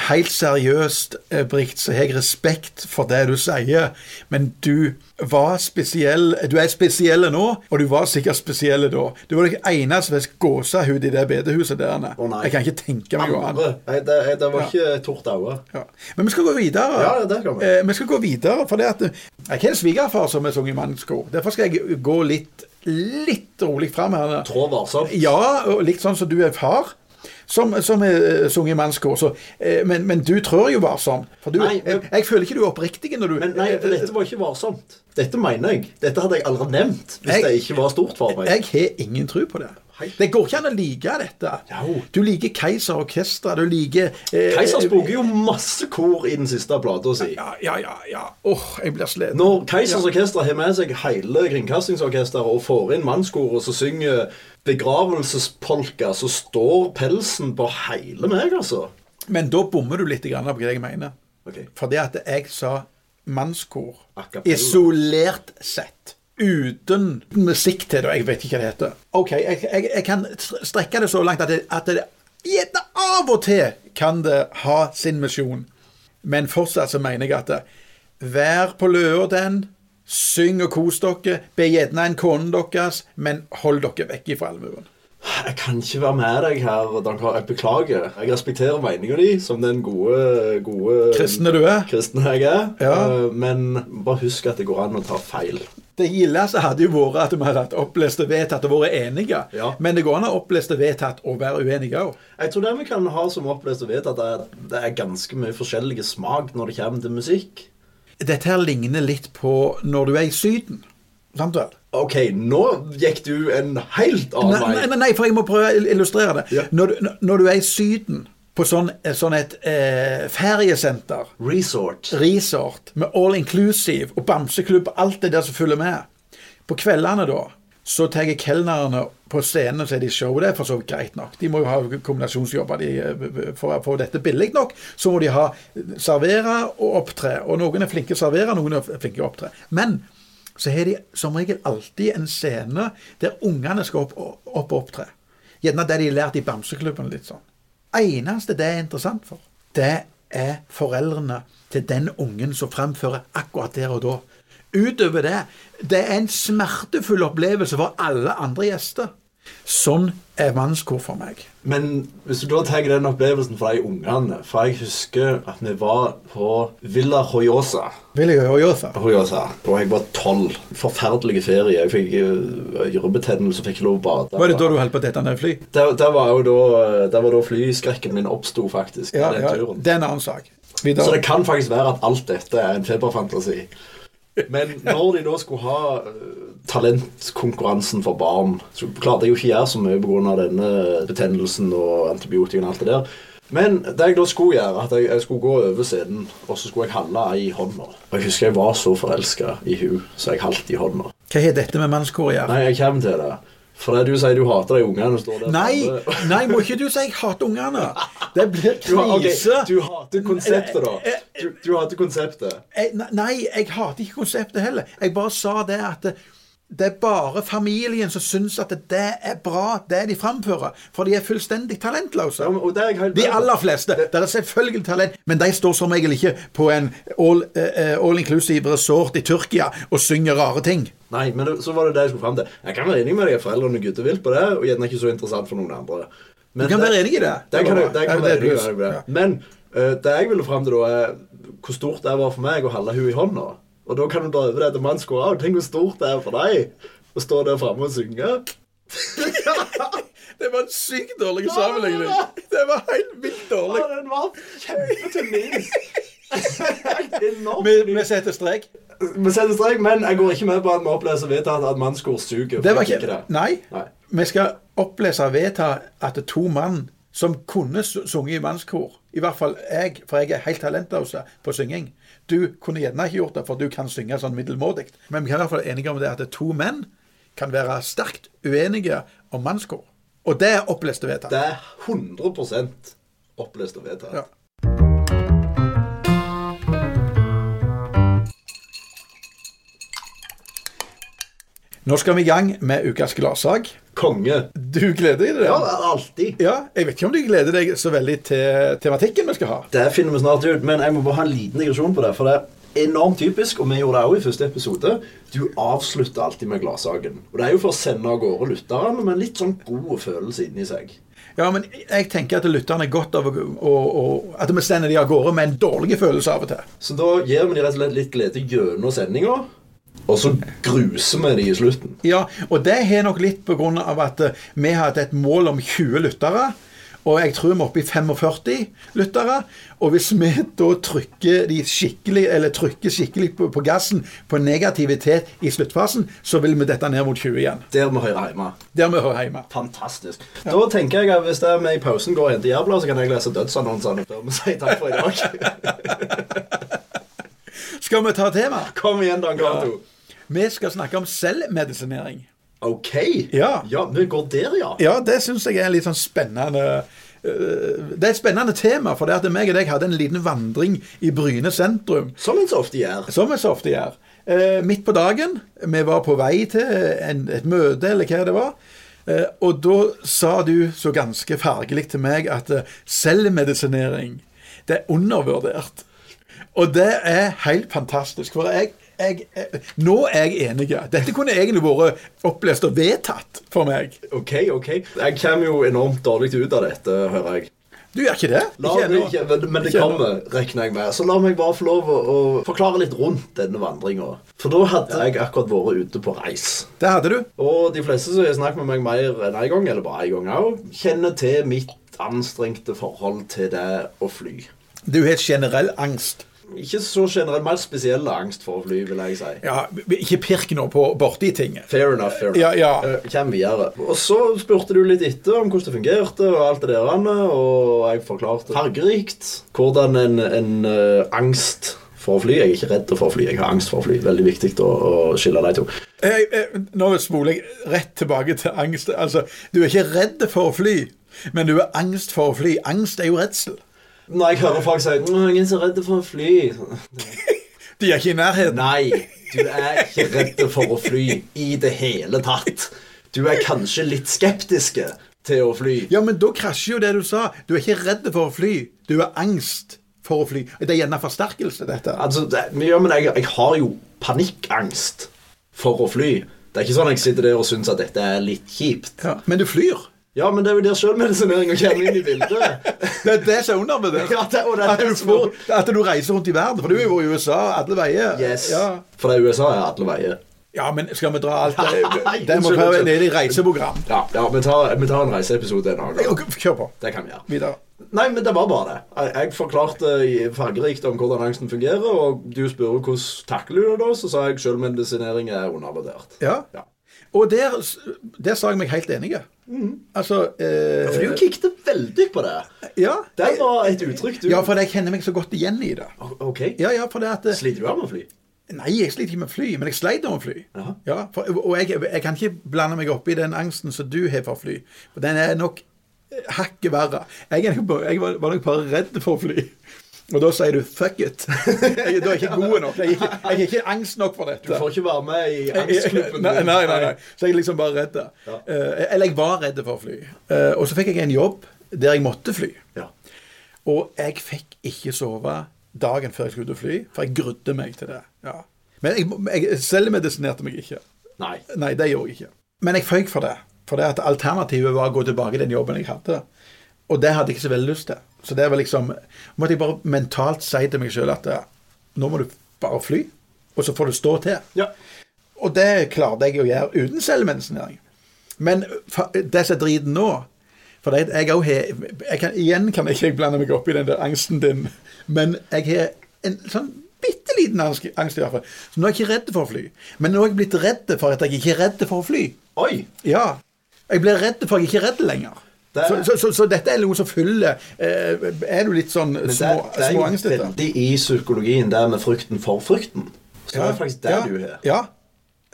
[SPEAKER 2] Helt seriøst, eh, Brikt, så har jeg respekt for det du sier, men du var spesiell Du er spesiell nå, og du var sikkert spesiell da. Du var den eneste med gåsehud i det bedehuset der nede.
[SPEAKER 1] Å, nei.
[SPEAKER 2] jeg kan ikke tenke meg noe annet.
[SPEAKER 1] Andre. Nei, det, det var ikke tort øye.
[SPEAKER 2] Ja. Men vi skal gå videre.
[SPEAKER 1] Ja, det skal vi.
[SPEAKER 2] Eh, vi skal gå videre, for det at eh, Jeg har en svigerfar som er sunget mannskor. Derfor skal jeg gå litt, litt rolig fram her.
[SPEAKER 1] Trå varsomt.
[SPEAKER 2] Ja, og litt sånn som du er far. Som, som er eh, sunget i mannskor. Så, eh, men, men du trør jo varsomt. For du,
[SPEAKER 1] Nei, men-
[SPEAKER 2] jeg, jeg føler ikke du er oppriktig når du eh,
[SPEAKER 1] Men nei, for Eh, dette var ikke varsomt. Dette mener jeg. Dette hadde jeg aldri nevnt hvis
[SPEAKER 2] Jeg-
[SPEAKER 1] det ikke var stort for meg.
[SPEAKER 2] eh, Jeg har ingen tro på det.
[SPEAKER 1] Hei.
[SPEAKER 2] Det går ikke an å like dette.
[SPEAKER 1] Jo.
[SPEAKER 2] Du liker Keiser Orkestra, du liker eh,
[SPEAKER 1] Keiser språker jo masse kor i den siste plata si.
[SPEAKER 2] Ja, ja, ja. ja. Åh, jeg blir sliten.
[SPEAKER 1] Når Keisers Orkester har med seg hele Kringkastingsorkesteret og får inn mannskoret som synger begravelsespolka, så står pelsen på hele meg, altså.
[SPEAKER 2] Men da bommer du litt grann på hva jeg mener.
[SPEAKER 1] Ok.
[SPEAKER 2] For det at jeg sa mannskor
[SPEAKER 1] A cappella.
[SPEAKER 2] isolert sett. Uten musikk til det, og jeg vet ikke hva det heter. OK, jeg, jeg, jeg kan st- strekke det så langt at det, at det gjerne av og til kan det ha sin misjon. Men fortsatt så mener jeg at det, vær på løa den, syng og kos dere, be gjerne en kone deres, men hold dere vekk fra allmuen.
[SPEAKER 1] Jeg kan ikke være med deg her, Dan Karl. Jeg beklager. Jeg respekterer meninga di som den gode, gode
[SPEAKER 2] Kristne du eh? er.
[SPEAKER 1] kristne jeg er.
[SPEAKER 2] Ja.
[SPEAKER 1] Eh, Men bare husk at det går an å ta feil.
[SPEAKER 2] Det gildeste hadde jo vært at vi hadde hatt opplest og vedtatt og vært enige.
[SPEAKER 1] Ja.
[SPEAKER 2] Men det går an å ha opplest og vedtatt og være uenige òg.
[SPEAKER 1] Jeg tror det vi kan ha som opplest og vet at det er, det er ganske mye forskjellige smak når det kommer til musikk.
[SPEAKER 2] Dette her ligner litt på når du er i Syden. Sant vel?
[SPEAKER 1] Ok, nå gikk du en helt
[SPEAKER 2] Nei,
[SPEAKER 1] annen vei.
[SPEAKER 2] nei, nei, for jeg må prøve å illustrere det.
[SPEAKER 1] Ja.
[SPEAKER 2] Når, du, når du er i Syden, på sånn, sånn et eh, feriesenter,
[SPEAKER 1] Resort.
[SPEAKER 2] resort med all inclusive og bamseklubb og alt det der som følger med. På kveldene da, så tar jeg kelnerne på scenen og så er de show. Det er for så vidt greit nok. De må jo ha kombinasjonsjobber. De, eh, for å få dette billig nok, så må de ha servere og opptre. Og noen er flinke å servere, noen er flinke å opptre. Men så har de som regel alltid en scene der ungene skal opp, opp og opptre. Gjerne det de har lært i bamseklubben. litt sånn. eneste det er interessant for, det er foreldrene til den ungen som fremfører akkurat der og da. Utover det, det er en smertefull opplevelse for alle andre gjester. Sånn er mannskor for meg.
[SPEAKER 1] Men hvis du da tar den opplevelsen fra de ungene For jeg husker at vi var på Villa Hoyosa.
[SPEAKER 2] Vil jeg høre Jotha?
[SPEAKER 1] Hoyosa. Da jeg var tolv. Forferdelige ferie. Jeg fikk eh, ørebetennelse, fikk ikke lov å bade.
[SPEAKER 2] Var det da du holdt på å dette ned fly?
[SPEAKER 1] Der, der var jo da, eh, der var da flyskrekken min oppsto, faktisk.
[SPEAKER 2] Ja,
[SPEAKER 1] den
[SPEAKER 2] ja,
[SPEAKER 1] turen.
[SPEAKER 2] det er en annen sak.
[SPEAKER 1] Så det
[SPEAKER 2] Videre.
[SPEAKER 1] kan faktisk være at alt dette er en feberfantasi. Men når de da skulle ha eh, talentkonkurransen for barn, så klarte jeg jo ikke gjøre så mye pga. denne betennelsen og antibiotikaen og alt det der. Men det jeg da skulle gjøre, at jeg, jeg skulle gå over scenen, og så skulle jeg halde ei i hånda. Og jeg husker jeg var så forelska i hun, så jeg halte i hånda.
[SPEAKER 2] Hva har dette med mannskor å gjøre?
[SPEAKER 1] Nei, jeg kommer til det. For det du sier du hater de ungene, står der
[SPEAKER 2] Nei,
[SPEAKER 1] framme.
[SPEAKER 2] nei, må ikke du si 'jeg hater ungene'. Det blir
[SPEAKER 1] [laughs] Du, har- ok,
[SPEAKER 2] krise.
[SPEAKER 1] du hater konseptet, da. Du, du hater konseptet.
[SPEAKER 2] Jeg- Nei, jeg hater ikke konseptet heller. Jeg bare sa det at eh, Det er bare familien som syns at det er bra, det de framfører. For de er fullstendig talentløse.
[SPEAKER 1] Ja, men- og det er jeg helt
[SPEAKER 2] De aller fleste. Det er selvfølgelig talent, men de står som regel ikke på en all, eh, all inclusive resort i Tyrkia og synger rare ting.
[SPEAKER 1] Nei, men det, så var det det jeg skulle fram til. Jeg kan være enig med deg at foreldrene gutter vil på det, og gjerne ikke så interessant for noen andre. Men
[SPEAKER 2] Du kan være enig i det.
[SPEAKER 1] Det kan jeg, det
[SPEAKER 2] Ja,
[SPEAKER 1] kan
[SPEAKER 2] det
[SPEAKER 1] jeg være
[SPEAKER 2] er blues.
[SPEAKER 1] enig med deg
[SPEAKER 2] Ja.
[SPEAKER 1] i. Men eh, det jeg ville fram til, da, er hvor stort det var for meg å holde hun i hånda. Og da kan du dra over det til manns går av. Tenk hvor stort det er for deg å stå der framme og synge.
[SPEAKER 2] Det var en sykt dårlig
[SPEAKER 1] sammenligning.
[SPEAKER 2] Det var helt vilt dårlig.
[SPEAKER 1] Ja, den var [laughs] kjempetynnis.
[SPEAKER 2] Vi,
[SPEAKER 1] Enormt.
[SPEAKER 2] vi setter strek.
[SPEAKER 1] Vi setter strek, men jeg går ikke med på at vi oppleser vedtatt at mannskor suger. for
[SPEAKER 2] Det var
[SPEAKER 1] jeg
[SPEAKER 2] ikke
[SPEAKER 1] liker det.
[SPEAKER 2] Nei.
[SPEAKER 1] Nei.
[SPEAKER 2] Vi skal opplese og vedta at to mann som kunne su- sunget i mannskor I hvert fall jeg, for jeg er helt talentløs på synging. Du kunne gjerne ikke gjort det, for du kan synge sånn middelmådig. Men vi kan i hvert fall være enige om det at to menn kan være sterkt uenige om mannskor. Og det er opplest og vedtatt.
[SPEAKER 1] Det er 100 opplest og vedtatt.
[SPEAKER 2] Ja. Nå skal vi i gang med ukas gladsak.
[SPEAKER 1] Konge.
[SPEAKER 2] Du gleder deg til det?
[SPEAKER 1] Ja, alltid.
[SPEAKER 2] Ja, jeg vet ikke om du gleder deg så veldig til tematikken vi skal ha.
[SPEAKER 1] Det finner vi snart ut, men jeg må bare ha en liten digresjon på det. For det er enormt typisk, og vi gjorde det også i første episode. Du avslutter alltid med gladsaken. Og det er jo for å sende av gårde lytterne med en litt sånn god følelse inni seg.
[SPEAKER 2] Ja, men jeg tenker at lytterne er godt av å, å, å At vi sender de av gårde med en dårlig følelse av og til.
[SPEAKER 1] Så da gir vi de rett og slett litt glede gjennom sendinga, og så gruser vi de i slutten.
[SPEAKER 2] Ja, og det har nok litt på grunn av at eh, vi hadde et mål om 20 lyttere. Og jeg tror vi er oppe i 45 lyttere. Og hvis vi da trykker de skikkelig eller trykker skikkelig på, på gassen på negativitet i sluttfasen, så vil vi dette ned mot 20 igjen.
[SPEAKER 1] Der vi hører hjemme.
[SPEAKER 2] Der vi hører hjemme.
[SPEAKER 1] Fantastisk. Da tenker jeg at hvis det er vi i pausen går inn til Jærbladet, så kan jeg lese dødsannonsene før vi sier takk for i dag.
[SPEAKER 2] Skal vi ta tema?
[SPEAKER 1] Kom igjen, Dan Cato.
[SPEAKER 2] Vi skal snakke om selvmedisinering.
[SPEAKER 1] Ok.
[SPEAKER 2] Ja.
[SPEAKER 1] Vi går der, ja.
[SPEAKER 2] Ja, det syns jeg er litt sånn spennende eh, Det er et spennende tema, for det at meg og deg hadde en liten vandring i Bryne sentrum.
[SPEAKER 1] Som en så ofte gjør.
[SPEAKER 2] Som vi så ofte gjør. Eh, midt på dagen, vi var på vei til en, et møte, eller hva det var. Eh, og da sa du så ganske fargelig til meg at eh, selvmedisinering, det er undervurdert. Og det er helt fantastisk. For jeg, jeg, jeg Nå er jeg enig. Dette kunne egentlig vært opplest og vedtatt for meg.
[SPEAKER 1] Ok, ok. Jeg kommer jo enormt dårlig ut av dette, hører jeg.
[SPEAKER 2] Du gjør ikke det?
[SPEAKER 1] La
[SPEAKER 2] ennå.
[SPEAKER 1] meg, men, men det
[SPEAKER 2] Ikke ennå.
[SPEAKER 1] kommer, regner jeg med. Så la meg bare få lov å, å forklare litt rundt denne vandringa. For da hadde jeg akkurat vært ute på reis.
[SPEAKER 2] Det hadde du.
[SPEAKER 1] Og de fleste som har snakket med meg mer enn en gang, eller bare en gang òg, kjenner til mitt anstrengte forhold til det å fly.
[SPEAKER 2] Du har generell angst.
[SPEAKER 1] Ikke så generelt, mer spesiell angst for å fly, vil jeg si.
[SPEAKER 2] Ja, ikke pirk nå på borti ting.
[SPEAKER 1] Fair enough. fair enough.
[SPEAKER 2] Ja, ja.
[SPEAKER 1] Eh, Hvem videre? Og så spurte du litt etter om hvordan det fungerte, og alt det der, Anne, og jeg forklarte fargerikt hvordan en, en eh, angst for å fly Jeg er ikke redd for å fly, jeg har angst for å fly. Veldig viktig å, å skille de to.
[SPEAKER 2] Jeg, jeg, eh, nå spoler jeg rett tilbake til angst. Altså, du er ikke redd for å fly, men du er angst for å fly. Angst er jo redsel.
[SPEAKER 1] Når jeg hører folk si «Nå, 'Ingen er så redd for å fly'
[SPEAKER 2] De er ikke i nærheten.
[SPEAKER 1] Nei, du er ikke redd for å fly i det hele tatt. Du er kanskje litt skeptiske til å fly.
[SPEAKER 2] Ja, men da krasjer jo det du sa. Du er ikke redd for å fly, du er angst for å fly. Det er gjerne forsterkelse, dette.
[SPEAKER 1] Altså, det, men ja, men jeg, jeg har jo panikkangst for å fly. Det er ikke sånn jeg sitter der og syns at dette er litt kjipt.
[SPEAKER 2] Ja. Men du flyr.
[SPEAKER 1] Ja, men det er jo der sjølmedisineringa kommer inn i bildet. [laughs]
[SPEAKER 2] Det er det som er undervurdert.
[SPEAKER 1] Ja, det- og det er
[SPEAKER 2] at,
[SPEAKER 1] det
[SPEAKER 2] du
[SPEAKER 1] som-
[SPEAKER 2] får, at du reiser rundt i verden. For du er jo i USA alle veier.
[SPEAKER 1] Yes.
[SPEAKER 2] Ja.
[SPEAKER 1] For det er USA er alle veier.
[SPEAKER 2] ja, men skal vi dra [laughs] alt det?
[SPEAKER 1] Nei,
[SPEAKER 2] Det må
[SPEAKER 1] unnskyld,
[SPEAKER 2] være
[SPEAKER 1] unnskyld.
[SPEAKER 2] ned i reiseprogram.
[SPEAKER 1] Ja, ja vi, tar, vi tar en reiseepisode en annen gang.
[SPEAKER 2] Ok, Kjør på.
[SPEAKER 1] Det kan vi gjøre.
[SPEAKER 2] Videre.
[SPEAKER 1] Nei, men det var bare det. Jeg, jeg forklarte eh, i- fargerikt om hvordan angsten fungerer, og du spurte hvordan takler du det da, så sa jeg sjølmedisinering er undervurdert.
[SPEAKER 2] Ja.
[SPEAKER 1] Ja.
[SPEAKER 2] Og der, der sa jeg meg helt enig. Altså eh,
[SPEAKER 1] For du kikket veldig på det.
[SPEAKER 2] ja,
[SPEAKER 1] Det var et uttrykk du
[SPEAKER 2] ja, for jeg kjenner meg så godt igjen i det.
[SPEAKER 1] Ok.
[SPEAKER 2] Ja, ja, for det at eh,
[SPEAKER 1] Sliter du av med å fly?
[SPEAKER 2] Nei, jeg sliter ikke med fly, men jeg sleit med fly.
[SPEAKER 1] Jaha.
[SPEAKER 2] Ja, for, og jeg, jeg kan ikke blande meg opp i den angsten som du har for fly. For den er nok eh, hakket verre. Jeg, er nok bare- jeg var, var nok bare redd for å fly. Og da sier du 'fuck it'. [laughs] Jeg, da er jeg ikke god nok. Jeg er ikke, jeg er ikke angst nok for
[SPEAKER 1] Du
[SPEAKER 2] dette.
[SPEAKER 1] får ikke være med i angstklubben.
[SPEAKER 2] Eh, Nei,
[SPEAKER 1] din.
[SPEAKER 2] nei, nei, nei. Så jeg er liksom bare redd. da.
[SPEAKER 1] Ja.
[SPEAKER 2] Eh, Eller jeg var redd for å fly. Eh, Og så fikk jeg en jobb der jeg måtte fly.
[SPEAKER 1] Ja.
[SPEAKER 2] Og jeg fikk ikke sove dagen før jeg skulle ut og fly, for jeg grudde meg til det. Ja. Men jeg, jeg selvmedisinerte meg ikke.
[SPEAKER 1] nei.
[SPEAKER 2] Nei, det gjorde jeg ikke. Men jeg føyk for det. For det at alternativet var å gå tilbake i den jobben jeg hadde. Og det hadde jeg ikke så veldig lyst til. Så det var liksom Måtte jeg bare mentalt si til meg sjøl at eh, nå må du bare fly, og så får du stå til.
[SPEAKER 1] Ja.
[SPEAKER 2] Og det klarte jeg å gjøre uten selvmedisinering. Men fa- det som er driten nå For det, jeg, også har- jeg kan, igjen kan ikke jeg blande meg opp i den der angsten din, men jeg har en sånn bitte liten angst, angst i hvert fall. Så nå er jeg ikke redd for å fly. Men nå er jeg blitt redd for at jeg ikke er redd for å fly.
[SPEAKER 1] Oi!
[SPEAKER 2] Ja. Jeg blir redd for at jeg ikke er redd lenger.
[SPEAKER 1] Det er-
[SPEAKER 2] Så, så, så, så dette er noe som fyller eh, Er du litt sånn
[SPEAKER 1] Men
[SPEAKER 2] små,
[SPEAKER 1] det, det er
[SPEAKER 2] små
[SPEAKER 1] jo
[SPEAKER 2] angst etter?
[SPEAKER 1] veldig i psykologien, det med frykten for frykten. Så det er faktisk det
[SPEAKER 2] ja,
[SPEAKER 1] du har.
[SPEAKER 2] Ja.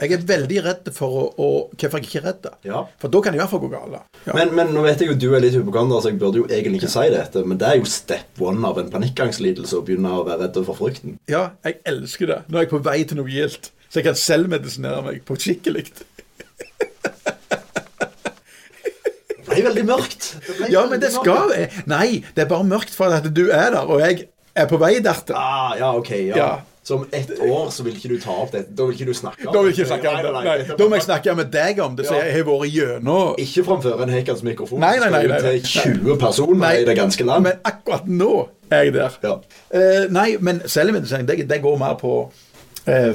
[SPEAKER 2] Jeg er veldig redd for å, å Hvorfor jeg ikke er redd, da.
[SPEAKER 1] Ja.
[SPEAKER 2] For da kan det i hvert fall gå galt. Ja.
[SPEAKER 1] Men, men nå vet jeg jo du er litt hypokonder, så jeg burde jo egentlig ikke si dette, men det er jo step one av en panikkangstlidelse å begynne å være redd for frykten.
[SPEAKER 2] ja, jeg elsker det. Nå er jeg på vei til noe gildt, så jeg kan selvmedisinere meg på skikkelig.
[SPEAKER 1] Det ble veldig mørkt. ble
[SPEAKER 2] Ja,
[SPEAKER 1] veldig
[SPEAKER 2] men det
[SPEAKER 1] mørkt.
[SPEAKER 2] skal jeg. Nei, det er bare mørkt for at du er der, og jeg er på vei dertil.
[SPEAKER 1] Ah, ja, ok, ja.
[SPEAKER 2] Ja.
[SPEAKER 1] Så om ett år så vil ikke du ta opp dette. Da vil ikke du snakke om
[SPEAKER 2] Da vil jeg ikke snakke om
[SPEAKER 1] Nei,
[SPEAKER 2] det.
[SPEAKER 1] nei,
[SPEAKER 2] Nei,
[SPEAKER 1] nei, dette
[SPEAKER 2] da må
[SPEAKER 1] var-
[SPEAKER 2] jeg snakke med deg om det, så jeg har vært gjennom
[SPEAKER 1] Ikke framfor en Hekans mikrofon.
[SPEAKER 2] Nei, nei, nei,
[SPEAKER 1] Det skal jo
[SPEAKER 2] nei, nei.
[SPEAKER 1] til 20 personer i det ganske land.
[SPEAKER 2] Men akkurat nå er jeg der.
[SPEAKER 1] Ja.
[SPEAKER 2] Eh, nei, men selvmedisinering, det, det går mer på eh,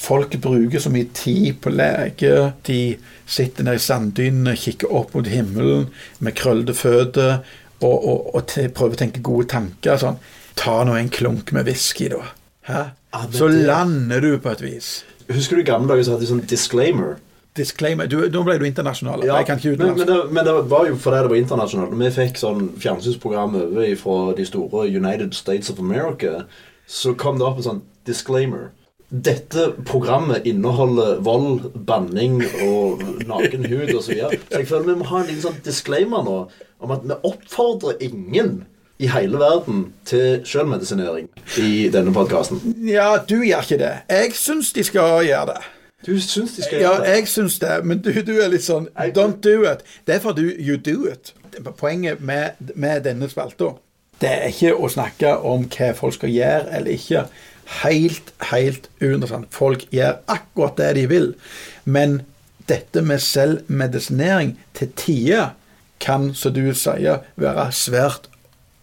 [SPEAKER 2] Folk bruker så mye tid på lege. De sitter nede i sanddynene, kikker opp mot himmelen med krøllete føtter og, og, og te, prøver å tenke gode tanker. Sånn. Ta nå en klunk med whisky, da. Hæ?
[SPEAKER 1] Ja, men
[SPEAKER 2] Så
[SPEAKER 1] det-
[SPEAKER 2] lander du på et vis.
[SPEAKER 1] Husker du i gamle dager så hadde de sånn disclaimer?
[SPEAKER 2] Disclaimer. Du, nå ble du internasjonal.
[SPEAKER 1] Ja,
[SPEAKER 2] Jeg kan ikke
[SPEAKER 1] men, men,
[SPEAKER 2] utenlandsk.
[SPEAKER 1] det, men det var jo fordi det var internasjonalt. Når vi fikk sånn fjernsynsprogram over fra de store United States of America, så kom det opp en sånn disclaimer. Dette programmet inneholder vold, banning og naken hud osv. Så, videre. så jeg føler vi må ha en liten sånn disclaimer nå om at vi oppfordrer ingen i hele verden til selvmedisinering i denne podkasten.
[SPEAKER 2] Ja, du gjør ikke det. Jeg syns de skal gjøre det.
[SPEAKER 1] Du syns de skal
[SPEAKER 2] Ja,
[SPEAKER 1] gjøre det?
[SPEAKER 2] jeg syns det, men du, du er litt sånn
[SPEAKER 1] Jeg-
[SPEAKER 2] Don't do it. Det er for du you do it. Poenget med, med denne spalta det er ikke å snakke om hva folk skal gjøre eller ikke. Helt, helt uinteressant. Folk gjør akkurat det de vil. Men dette med selvmedisinering til tider kan, som du sier, være svært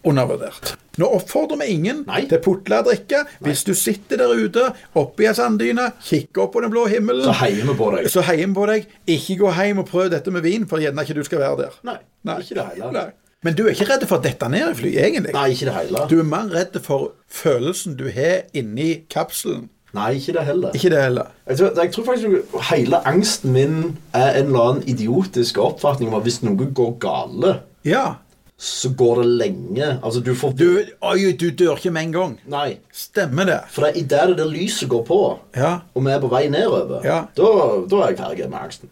[SPEAKER 2] undervurdert. Nå oppfordrer vi ingen
[SPEAKER 1] Nei.
[SPEAKER 2] til putla drikke. Hvis du sitter der ute oppi ei sanddyne, kikker opp på den blå himmelen
[SPEAKER 1] Så heier vi på deg.
[SPEAKER 2] så heim på deg. Ikke gå hjem og prøv dette med vin, for gjerne ikke du skal være der.
[SPEAKER 1] Nei, ikke det heller.
[SPEAKER 2] Nei. Men du er ikke redd for å dette ned i fly, egentlig.
[SPEAKER 1] Nei, ikke det hele.
[SPEAKER 2] Du er mer redd for følelsen du har inni kapselen.
[SPEAKER 1] Nei, ikke det heller.
[SPEAKER 2] Ikke det heller.
[SPEAKER 1] Jeg tror, jeg tror faktisk jo hele angsten min er en eller annen idiotisk oppfatning om at hvis noe går gale,
[SPEAKER 2] Ja.
[SPEAKER 1] så går det lenge. Altså, du får
[SPEAKER 2] Du, oi, du dør ikke med en gang.
[SPEAKER 1] Nei.
[SPEAKER 2] Stemmer det.
[SPEAKER 1] For det er idet det der lyset går på,
[SPEAKER 2] Ja.
[SPEAKER 1] og vi er på vei nedover,
[SPEAKER 2] Ja.
[SPEAKER 1] da, da er jeg ferdig med angsten.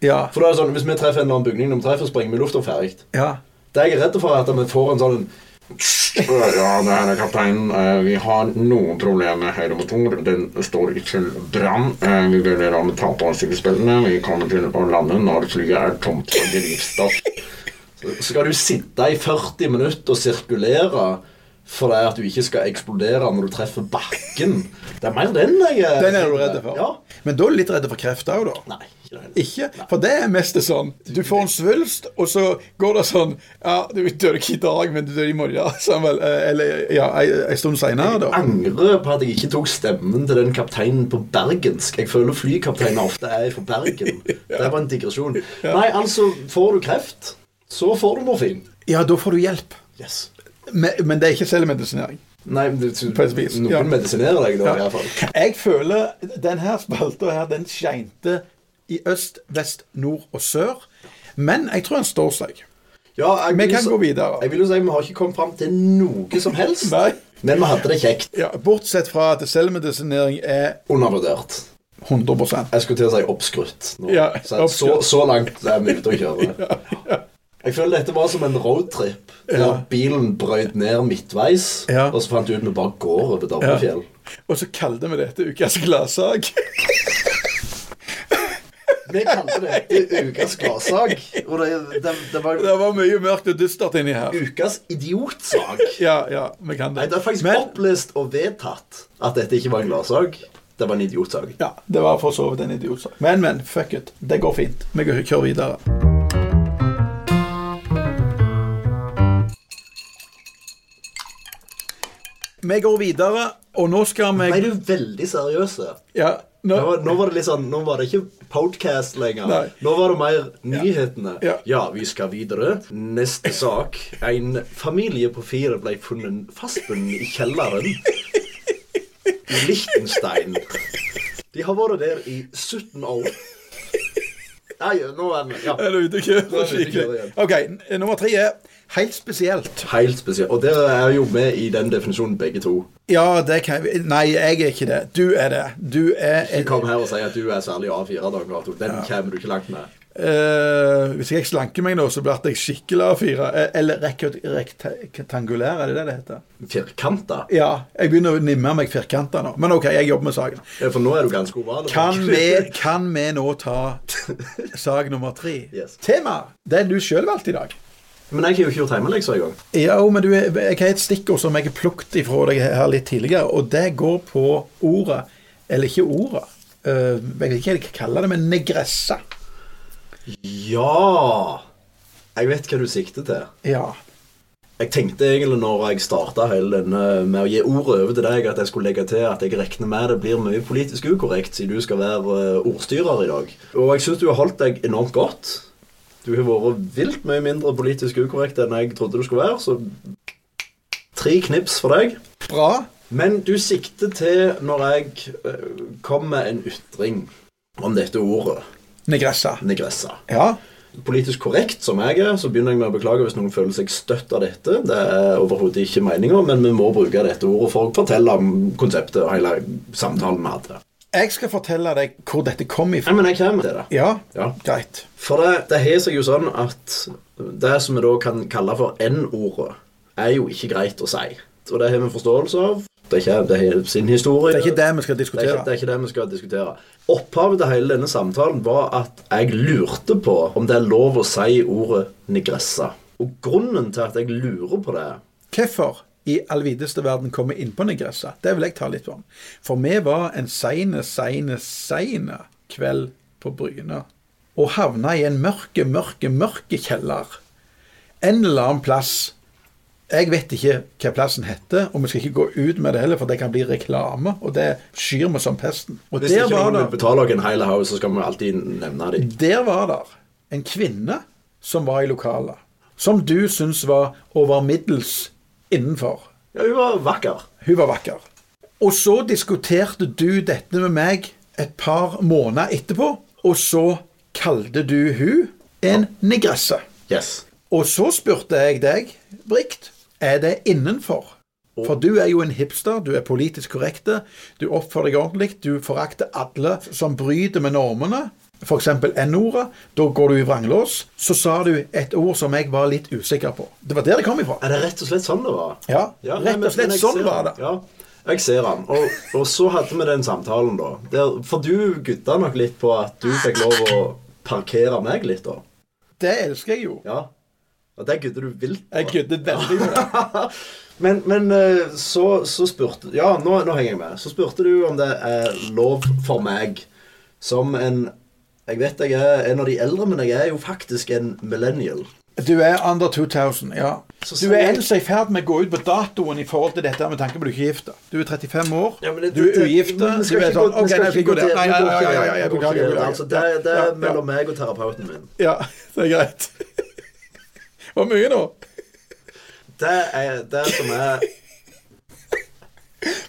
[SPEAKER 2] Ja.
[SPEAKER 1] For da er det sånn, Hvis vi treffer en eller annen bygning når vi treffer, springer vi i lufta ferdig.
[SPEAKER 2] Ja.
[SPEAKER 1] Det jeg er redd for, er at vi får en sånn
[SPEAKER 3] Ja, det er kapteinen. Eh, Vi har noen problemer med høyremotor. Den står i til brann. Eh, Vi vurderer om å ta på sikkerhetsbeltene. Vi kommer til å lande når flyet er tomt for drivstoff.
[SPEAKER 1] Så skal du sitte i 40 minutter og sirkulere fordi at du ikke skal eksplodere når du treffer bakken. Det er mer den jeg
[SPEAKER 2] Den er du redd for.
[SPEAKER 1] Ja.
[SPEAKER 2] Men da er du litt redd for kreft òg, da.
[SPEAKER 1] Nei, ikke det heller.
[SPEAKER 2] Ikke? For det er mest det sånn Du får en svulst, og så går det sånn Ja, du dør ikke i dag, men du dør i morgen. Samuel. Eh, Eller ja, ei- ei stund seinere, da.
[SPEAKER 1] angrer på at jeg ikke tok stemmen til den kapteinen på bergensk. Jeg føler flykapteiner ofte er fra
[SPEAKER 2] [laughs]
[SPEAKER 1] Bergen. Det var en digresjon. Nei, altså, får du kreft, så får du morfin.
[SPEAKER 2] Ja, da får du hjelp.
[SPEAKER 1] Yes.
[SPEAKER 2] Men, men det er ikke selvmedisinering.
[SPEAKER 1] Nei, men det,
[SPEAKER 2] På et vis,
[SPEAKER 1] noen
[SPEAKER 2] ja.
[SPEAKER 1] medisinerer deg da, i hvert fall.
[SPEAKER 2] Jeg føler denne spalta her, den skeinte i øst, vest, nord og sør. Men jeg tror den står seg.
[SPEAKER 1] Ja, jeg
[SPEAKER 2] Vi
[SPEAKER 1] vil
[SPEAKER 2] kan
[SPEAKER 1] jo
[SPEAKER 2] gå
[SPEAKER 1] si-
[SPEAKER 2] videre.
[SPEAKER 1] Jeg vil jo si vi har ikke kommet fram til noe som helst,
[SPEAKER 2] Nei.
[SPEAKER 1] men vi hadde det kjekt.
[SPEAKER 2] Ja, bortsett fra at selvmedisinering er
[SPEAKER 1] Undervurdert.
[SPEAKER 2] 100
[SPEAKER 1] Jeg skulle til å si oppskrutt. Nå.
[SPEAKER 2] Ja,
[SPEAKER 1] så, så,
[SPEAKER 2] oppskrutt. [laughs]
[SPEAKER 1] så langt er vi ute å kjøre. Jeg føler dette var som en roadtrip. Hvor
[SPEAKER 2] Ja.
[SPEAKER 1] bilen brøyt ned midtveis,
[SPEAKER 2] Ja.
[SPEAKER 1] og så fant vi ut vi bare går over Dovrefjell.
[SPEAKER 2] Og så kalte vi dette ukas gladsak. [laughs]
[SPEAKER 1] Vi kalte
[SPEAKER 2] [laughs]
[SPEAKER 1] dette ukas gladsak. Og det, det, det var
[SPEAKER 2] Det var mye mørkt og dystert inni her.
[SPEAKER 1] ukas idiotsak.
[SPEAKER 2] Ja, ja, vi kan
[SPEAKER 1] Nei,
[SPEAKER 2] det.
[SPEAKER 1] det er faktisk
[SPEAKER 2] Men-
[SPEAKER 1] opplest og vedtatt at dette ikke var en gladsak. Det var en idiotsak.
[SPEAKER 2] Ja, det var for så vidt en idiotsak. Men, men, fuck it. Det går fint. Vi går- kjører videre. Vi går videre, og nå skal
[SPEAKER 1] Nei,
[SPEAKER 2] vi
[SPEAKER 1] du er veldig seriøse.
[SPEAKER 2] Ja, nå,
[SPEAKER 1] Nå, nå var det litt sånn, nå var det ikke podcast lenger.
[SPEAKER 2] Nei.
[SPEAKER 1] Nå var det mer nyhetene.
[SPEAKER 2] Ja.
[SPEAKER 1] vi skal videre. Neste sak. En familie på fire ble funnet fastbundet i kjelleren i Liechtenstein. De har vært der i 17 år. Nei, nå er vi ja.
[SPEAKER 2] er du ute og
[SPEAKER 1] er vi
[SPEAKER 2] kjører
[SPEAKER 1] ute og kjører
[SPEAKER 2] skikkelig? OK, n- nummer tre er helt spesielt.
[SPEAKER 1] Helt spesielt. Og dere er jo med i den definisjonen, begge to.
[SPEAKER 2] Ja, det kan vi Nei, jeg er ikke det. Du er det. Du er en
[SPEAKER 1] Kom her og si at du er særlig A4, Dag Cato. Den kommer du ikke langt med.
[SPEAKER 2] Eh, hvis jeg slanker meg nå, så blir jeg skikkelig A4. eh, Eller rekord- rektangulær, er det det det heter?
[SPEAKER 1] Firkanta.
[SPEAKER 2] Ja, jeg begynner å nimme meg firkanter nå. Men OK, jeg jobber med saken.
[SPEAKER 1] Ja, For nå er du ganske oval.
[SPEAKER 2] [laughs] Kan vi, kan vi nå ta sag nummer tre?
[SPEAKER 1] Yes.
[SPEAKER 2] Tema! Den du sjøl valgte i dag.
[SPEAKER 1] Men jeg har jo ikke gjort hjemmelekser engang.
[SPEAKER 2] Ja, jo, men du, jeg har et stikkord som jeg har plukket ifra deg her litt tidligere, og det går på ordet Eller ikke ordet. eh, jeg vet ikke hva jeg kaller det, men negresse.
[SPEAKER 1] Ja! Jeg vet hva du sikter til.
[SPEAKER 2] Ja.
[SPEAKER 1] Jeg tenkte egentlig når jeg starta hele denne med å gi ordet over til deg, at jeg skulle legge til at jeg regner med det blir mye politisk ukorrekt siden du skal være eh, ordstyrer i dag. Og jeg syns du har holdt deg enormt godt. Du har vært vilt mye mindre politisk ukorrekt enn jeg trodde du skulle være, så tre knips for deg.
[SPEAKER 2] Bra.
[SPEAKER 1] Men du sikter til når jeg eh, kom med en ytring om dette ordet,
[SPEAKER 2] Negresse.
[SPEAKER 1] negressa.
[SPEAKER 2] Ja.
[SPEAKER 1] Politisk korrekt som jeg er, så begynner jeg med å beklage hvis noen føler seg støtt av dette. Det er overhodet ikke meninga, men vi må bruke dette ordet for å fortelle om konseptet og hele samtalen vi hadde.
[SPEAKER 2] Jeg skal fortelle deg hvor dette kom ifra.
[SPEAKER 1] Nei, men jeg kommer til det.
[SPEAKER 2] Ja,
[SPEAKER 1] Ja.
[SPEAKER 2] greit.
[SPEAKER 1] For det, det har seg jo sånn at det som vi da kan kalle for N-ordet, er jo ikke greit å si. Og det har vi forståelse av. Det er ikke det har sin historie.
[SPEAKER 2] Det er ikke det vi skal
[SPEAKER 1] Det er, ikke, det
[SPEAKER 2] diskutere.
[SPEAKER 1] er ikke det vi skal diskutere. Opphavet til hele denne samtalen var at jeg lurte på om det er lov å si ordet nigressa. Og grunnen til at jeg lurer på det
[SPEAKER 2] Hvorfor i all videste verden kommer vi inn på negresse? Det vil jeg ta litt om. For vi var en seine, seine, seine kveld på Bryne. Og havna i en mørke, mørke, mørke kjeller. En eller annen plass. Jeg vet ikke hva plassen heter, og vi skal ikke gå ut med det heller, for det kan bli reklame, og det skyr vi som pesten. Og
[SPEAKER 1] Hvis
[SPEAKER 2] der
[SPEAKER 1] ikke
[SPEAKER 2] var
[SPEAKER 1] noen
[SPEAKER 2] det-
[SPEAKER 1] vil betale oss en hel haug, så skal vi alltid nevne dem.
[SPEAKER 2] Der var der en kvinne som var i lokalet, som du syns var over middels innenfor.
[SPEAKER 1] Ja, hun var vakker.
[SPEAKER 2] Hun var vakker. Og så diskuterte du dette med meg et par måneder etterpå, og så kalte du hun en negresse.
[SPEAKER 1] Yes.
[SPEAKER 2] Og så spurte jeg deg, Brikt, er det innenfor? For du er jo en hipster, du er politisk korrekte, du oppfører deg ordentlig, du forakter alle som bryter med normene. For eksempel N-ordet, da går du i vranglås. Så sa du et ord som jeg var litt usikker på. Det var der det kom ifra.
[SPEAKER 1] Er det rett og slett sånn det var?
[SPEAKER 2] Ja,
[SPEAKER 1] nei,
[SPEAKER 2] rett
[SPEAKER 1] men-
[SPEAKER 2] og slett
[SPEAKER 1] men jeg
[SPEAKER 2] sånn
[SPEAKER 1] ser
[SPEAKER 2] var
[SPEAKER 1] han.
[SPEAKER 2] det.
[SPEAKER 1] Ja, jeg ser han. Og, og så hadde vi den samtalen, da. Der, for du gutta nok litt på at du fikk lov å parkere meg litt, da.
[SPEAKER 2] Det elsker jeg jo.
[SPEAKER 1] Ja. Og det gudde du vilt på.
[SPEAKER 2] Jeg kødder veldig med det.
[SPEAKER 1] Men, men eh, så, så spurte Ja, nå, nå henger jeg med. Så spurte du om det er lov for meg som en Jeg vet jeg er en av de eldre, men jeg er jo faktisk en millennial.
[SPEAKER 2] Du er under 2000, ja.
[SPEAKER 1] Så
[SPEAKER 2] Du
[SPEAKER 1] sier
[SPEAKER 2] er
[SPEAKER 1] jeg-
[SPEAKER 2] ellers i ferd med å gå ut på datoen i forhold til dette med tanke på at du ikke er gift. Du er 35 år,
[SPEAKER 1] Ja, men det-
[SPEAKER 2] du er
[SPEAKER 1] det-
[SPEAKER 2] ugift. Du
[SPEAKER 1] men
[SPEAKER 2] er
[SPEAKER 1] vi skal ikke
[SPEAKER 2] sånn
[SPEAKER 1] gå- vi
[SPEAKER 2] OK,
[SPEAKER 1] skal
[SPEAKER 2] nei, jeg skal
[SPEAKER 1] ikke
[SPEAKER 2] ikke gå
[SPEAKER 1] til-
[SPEAKER 2] der. Nei,
[SPEAKER 1] vi
[SPEAKER 2] nei,
[SPEAKER 1] går ikke
[SPEAKER 2] nei, nei, nei,
[SPEAKER 1] der,
[SPEAKER 2] nei, jeg
[SPEAKER 1] vi går ikke
[SPEAKER 2] beklager. jeg
[SPEAKER 1] der.
[SPEAKER 2] beklager.
[SPEAKER 1] Altså, det, det
[SPEAKER 2] Ja,
[SPEAKER 1] er
[SPEAKER 2] ja.
[SPEAKER 1] mellom meg og terapeuten min.
[SPEAKER 2] Ja, det er greit. [laughs] Det var mye nå.
[SPEAKER 1] Det er det som er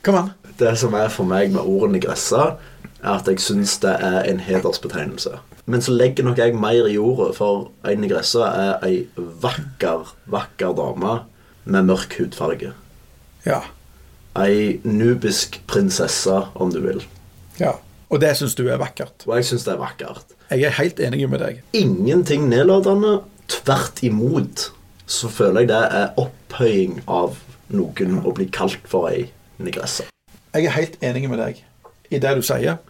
[SPEAKER 2] Kom an.
[SPEAKER 1] Det som er for meg med ordene gressa, er at jeg syns det er en hedersbetegnelse. Men så legger nok jeg mer i ordet, for ei negresse er ei vakker, vakker dame med mørk hudfarge.
[SPEAKER 2] Ja.
[SPEAKER 1] Ei nubisk prinsesse, om du vil.
[SPEAKER 2] ja. Og det syns du er vakkert.
[SPEAKER 1] Og jeg syns det er vakkert.
[SPEAKER 2] Jeg er helt enig med deg.
[SPEAKER 1] Ingenting nedlatende, Tvert imot så føler jeg det er opphøying av noen å bli kalt for ei nigresse.
[SPEAKER 2] Jeg er helt enig med deg i det du sier.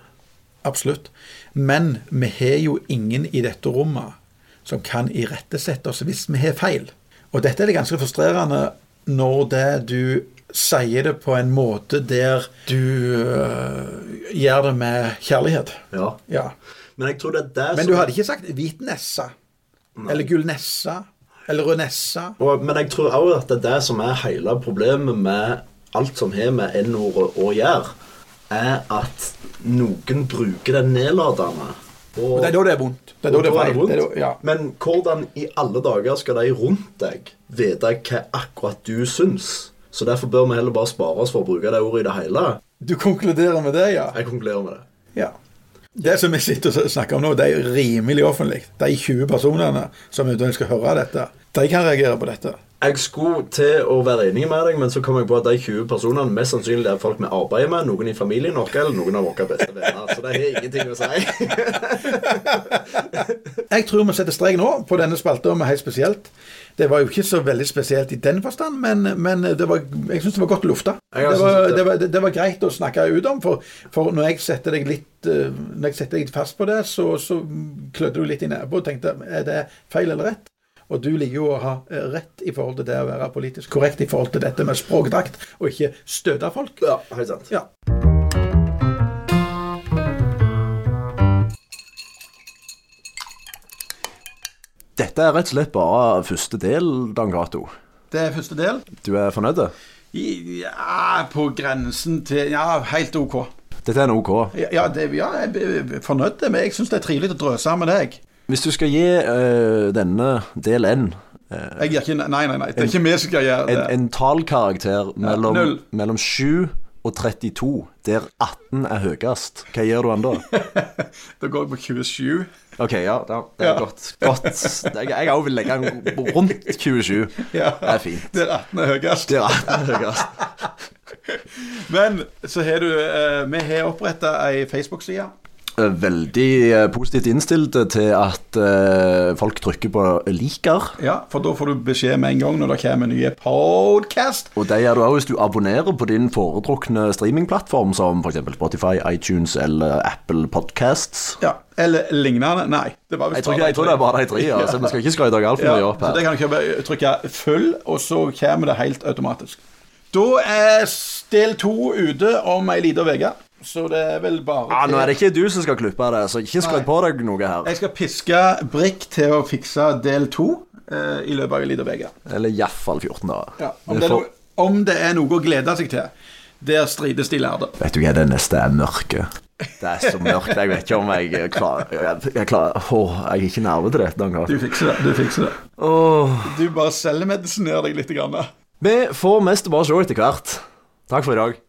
[SPEAKER 2] Absolutt. Men vi har jo ingen i dette rommet som kan irettesette oss hvis vi har feil. Og dette er det ganske frustrerende når det du sier det på en måte der du øh, gjør det med kjærlighet.
[SPEAKER 1] Ja.
[SPEAKER 2] Ja.
[SPEAKER 1] Men jeg tror det er det
[SPEAKER 2] Men
[SPEAKER 1] som
[SPEAKER 2] du hadde ikke sagt hvit nesse eller gull nesse eller rød nesse.
[SPEAKER 1] Og, men jeg tror også at det er det som er hele problemet med alt som har med N-ordet å gjøre, er at noen bruker det nedlatende. Og,
[SPEAKER 2] Det er da det er vondt. Det er da
[SPEAKER 1] og
[SPEAKER 2] det er
[SPEAKER 1] da er det
[SPEAKER 2] feil. Det er
[SPEAKER 1] vondt.
[SPEAKER 2] da, ja.
[SPEAKER 1] Men hvordan i alle dager skal de rundt deg vite hva akkurat du syns? Så derfor bør vi heller bare spare oss for å bruke det ordet i det hele.
[SPEAKER 2] Du konkluderer med det, ja.
[SPEAKER 1] Jeg konkluderer med det.
[SPEAKER 2] Ja. Det som vi sitter og snakker om nå, det er rimelig offentlig. De 20 personene som eventuelt skal høre dette, de kan reagere på dette.
[SPEAKER 1] Jeg skulle til å være enig med deg, men så kom jeg på at de 20 personene mest sannsynlig er folk vi arbeider med, noen i familien vår eller noen av våre beste venner. Så det har ingenting å si.
[SPEAKER 2] Jeg tror vi setter strek nå på denne spalta med helt spesielt. Det var jo ikke så veldig spesielt i den forstand, men, men det var, jeg syns det var godt lufta.
[SPEAKER 1] Jeg
[SPEAKER 2] Det
[SPEAKER 1] har
[SPEAKER 2] var,
[SPEAKER 1] synes det-
[SPEAKER 2] det, var, det, det var greit å snakke ut om, for, for når, jeg setter deg litt, eh, når jeg setter deg fast på det, så, så klødde du litt i nebbet og tenkte er det feil eller rett? Og du liker jo å ha eh, rett i forhold til det å være politisk korrekt i forhold til dette med språkdrakt, og ikke støte folk.
[SPEAKER 1] Ja, helt sant.
[SPEAKER 2] Ja.
[SPEAKER 4] Dette er rett og slett bare første del, Dan Cato.
[SPEAKER 2] Det er første del.
[SPEAKER 4] Du er fornøyd?
[SPEAKER 2] Ja, på grensen til Ja, helt OK.
[SPEAKER 4] Dette er en OK.
[SPEAKER 2] Ja, ja, det, ja jeg er fornøyd, men jeg syns det er trivelig å drøse med deg.
[SPEAKER 4] Hvis du skal gi eh, denne del N eh,
[SPEAKER 2] Jeg gjør ikke, nei, nei, nei. Det er ikke vi som skal gjøre
[SPEAKER 4] en,
[SPEAKER 2] det.
[SPEAKER 4] en tallkarakter mellom,
[SPEAKER 2] null.
[SPEAKER 4] mellom 7 og 32, der 18 er høyest, hva gjør du ennå?
[SPEAKER 2] [laughs] Da går jeg på 27.
[SPEAKER 4] Ok, ja, da, det er godt. godt. Jeg, jeg også vil legge den rundt 27.
[SPEAKER 2] Ja.
[SPEAKER 4] Det er fint.
[SPEAKER 2] Der 18 er høyest.
[SPEAKER 4] Der 18 er høyest.
[SPEAKER 2] Men så har du eh, Vi har oppretta ei Facebook-side.
[SPEAKER 4] Eh, Veldig eh, positivt innstilt til at eh, folk trykker på liker.
[SPEAKER 2] Ja, for da får du beskjed med en gang når det kommer nye podcast.
[SPEAKER 4] Og det gjør du også hvis du abonnerer på din foretrukne streamingplattform, som f.eks. Spotify, iTunes eller Apple Podcasts.
[SPEAKER 2] Ja, Eller lignende. Nei. Det var
[SPEAKER 4] Jeg tror, ikke, jeg tror det er bare
[SPEAKER 2] [laughs]
[SPEAKER 4] de tre, altså. Vi skal ikke skryte deg altfor mye opp
[SPEAKER 2] så
[SPEAKER 4] her.
[SPEAKER 2] det kan du kjøpe, trykke 'følg', og så kommer det helt automatisk. Da er s- del to ute om ei lita uke, så det er vel bare
[SPEAKER 4] Ja, Nå
[SPEAKER 2] til-
[SPEAKER 4] er det ikke du som skal klippe det, så ikke
[SPEAKER 2] Nei.
[SPEAKER 4] skryt på deg noe her.
[SPEAKER 2] Jeg skal piske Brikk til å fikse del to eh, i løpet av en liten uke.
[SPEAKER 4] Eller iallfall 14 dager.
[SPEAKER 2] Om,
[SPEAKER 4] Vi
[SPEAKER 2] det er
[SPEAKER 4] får-
[SPEAKER 2] noe- om det er noe å glede seg til, der strides de lærde.
[SPEAKER 4] Vet du hva, det neste er mørke. Det er så mørkt. Jeg vet ikke om jeg klarer Jeg, jeg, klarer, Åh, jeg er ikke nerve til dette
[SPEAKER 2] Du
[SPEAKER 4] engang.
[SPEAKER 2] fikser det. Du fikser det.
[SPEAKER 4] Åh.
[SPEAKER 2] Du bare selvmedisinerer deg litt. Grann.
[SPEAKER 4] Vi får mest bare se etter hvert. Takk for i dag.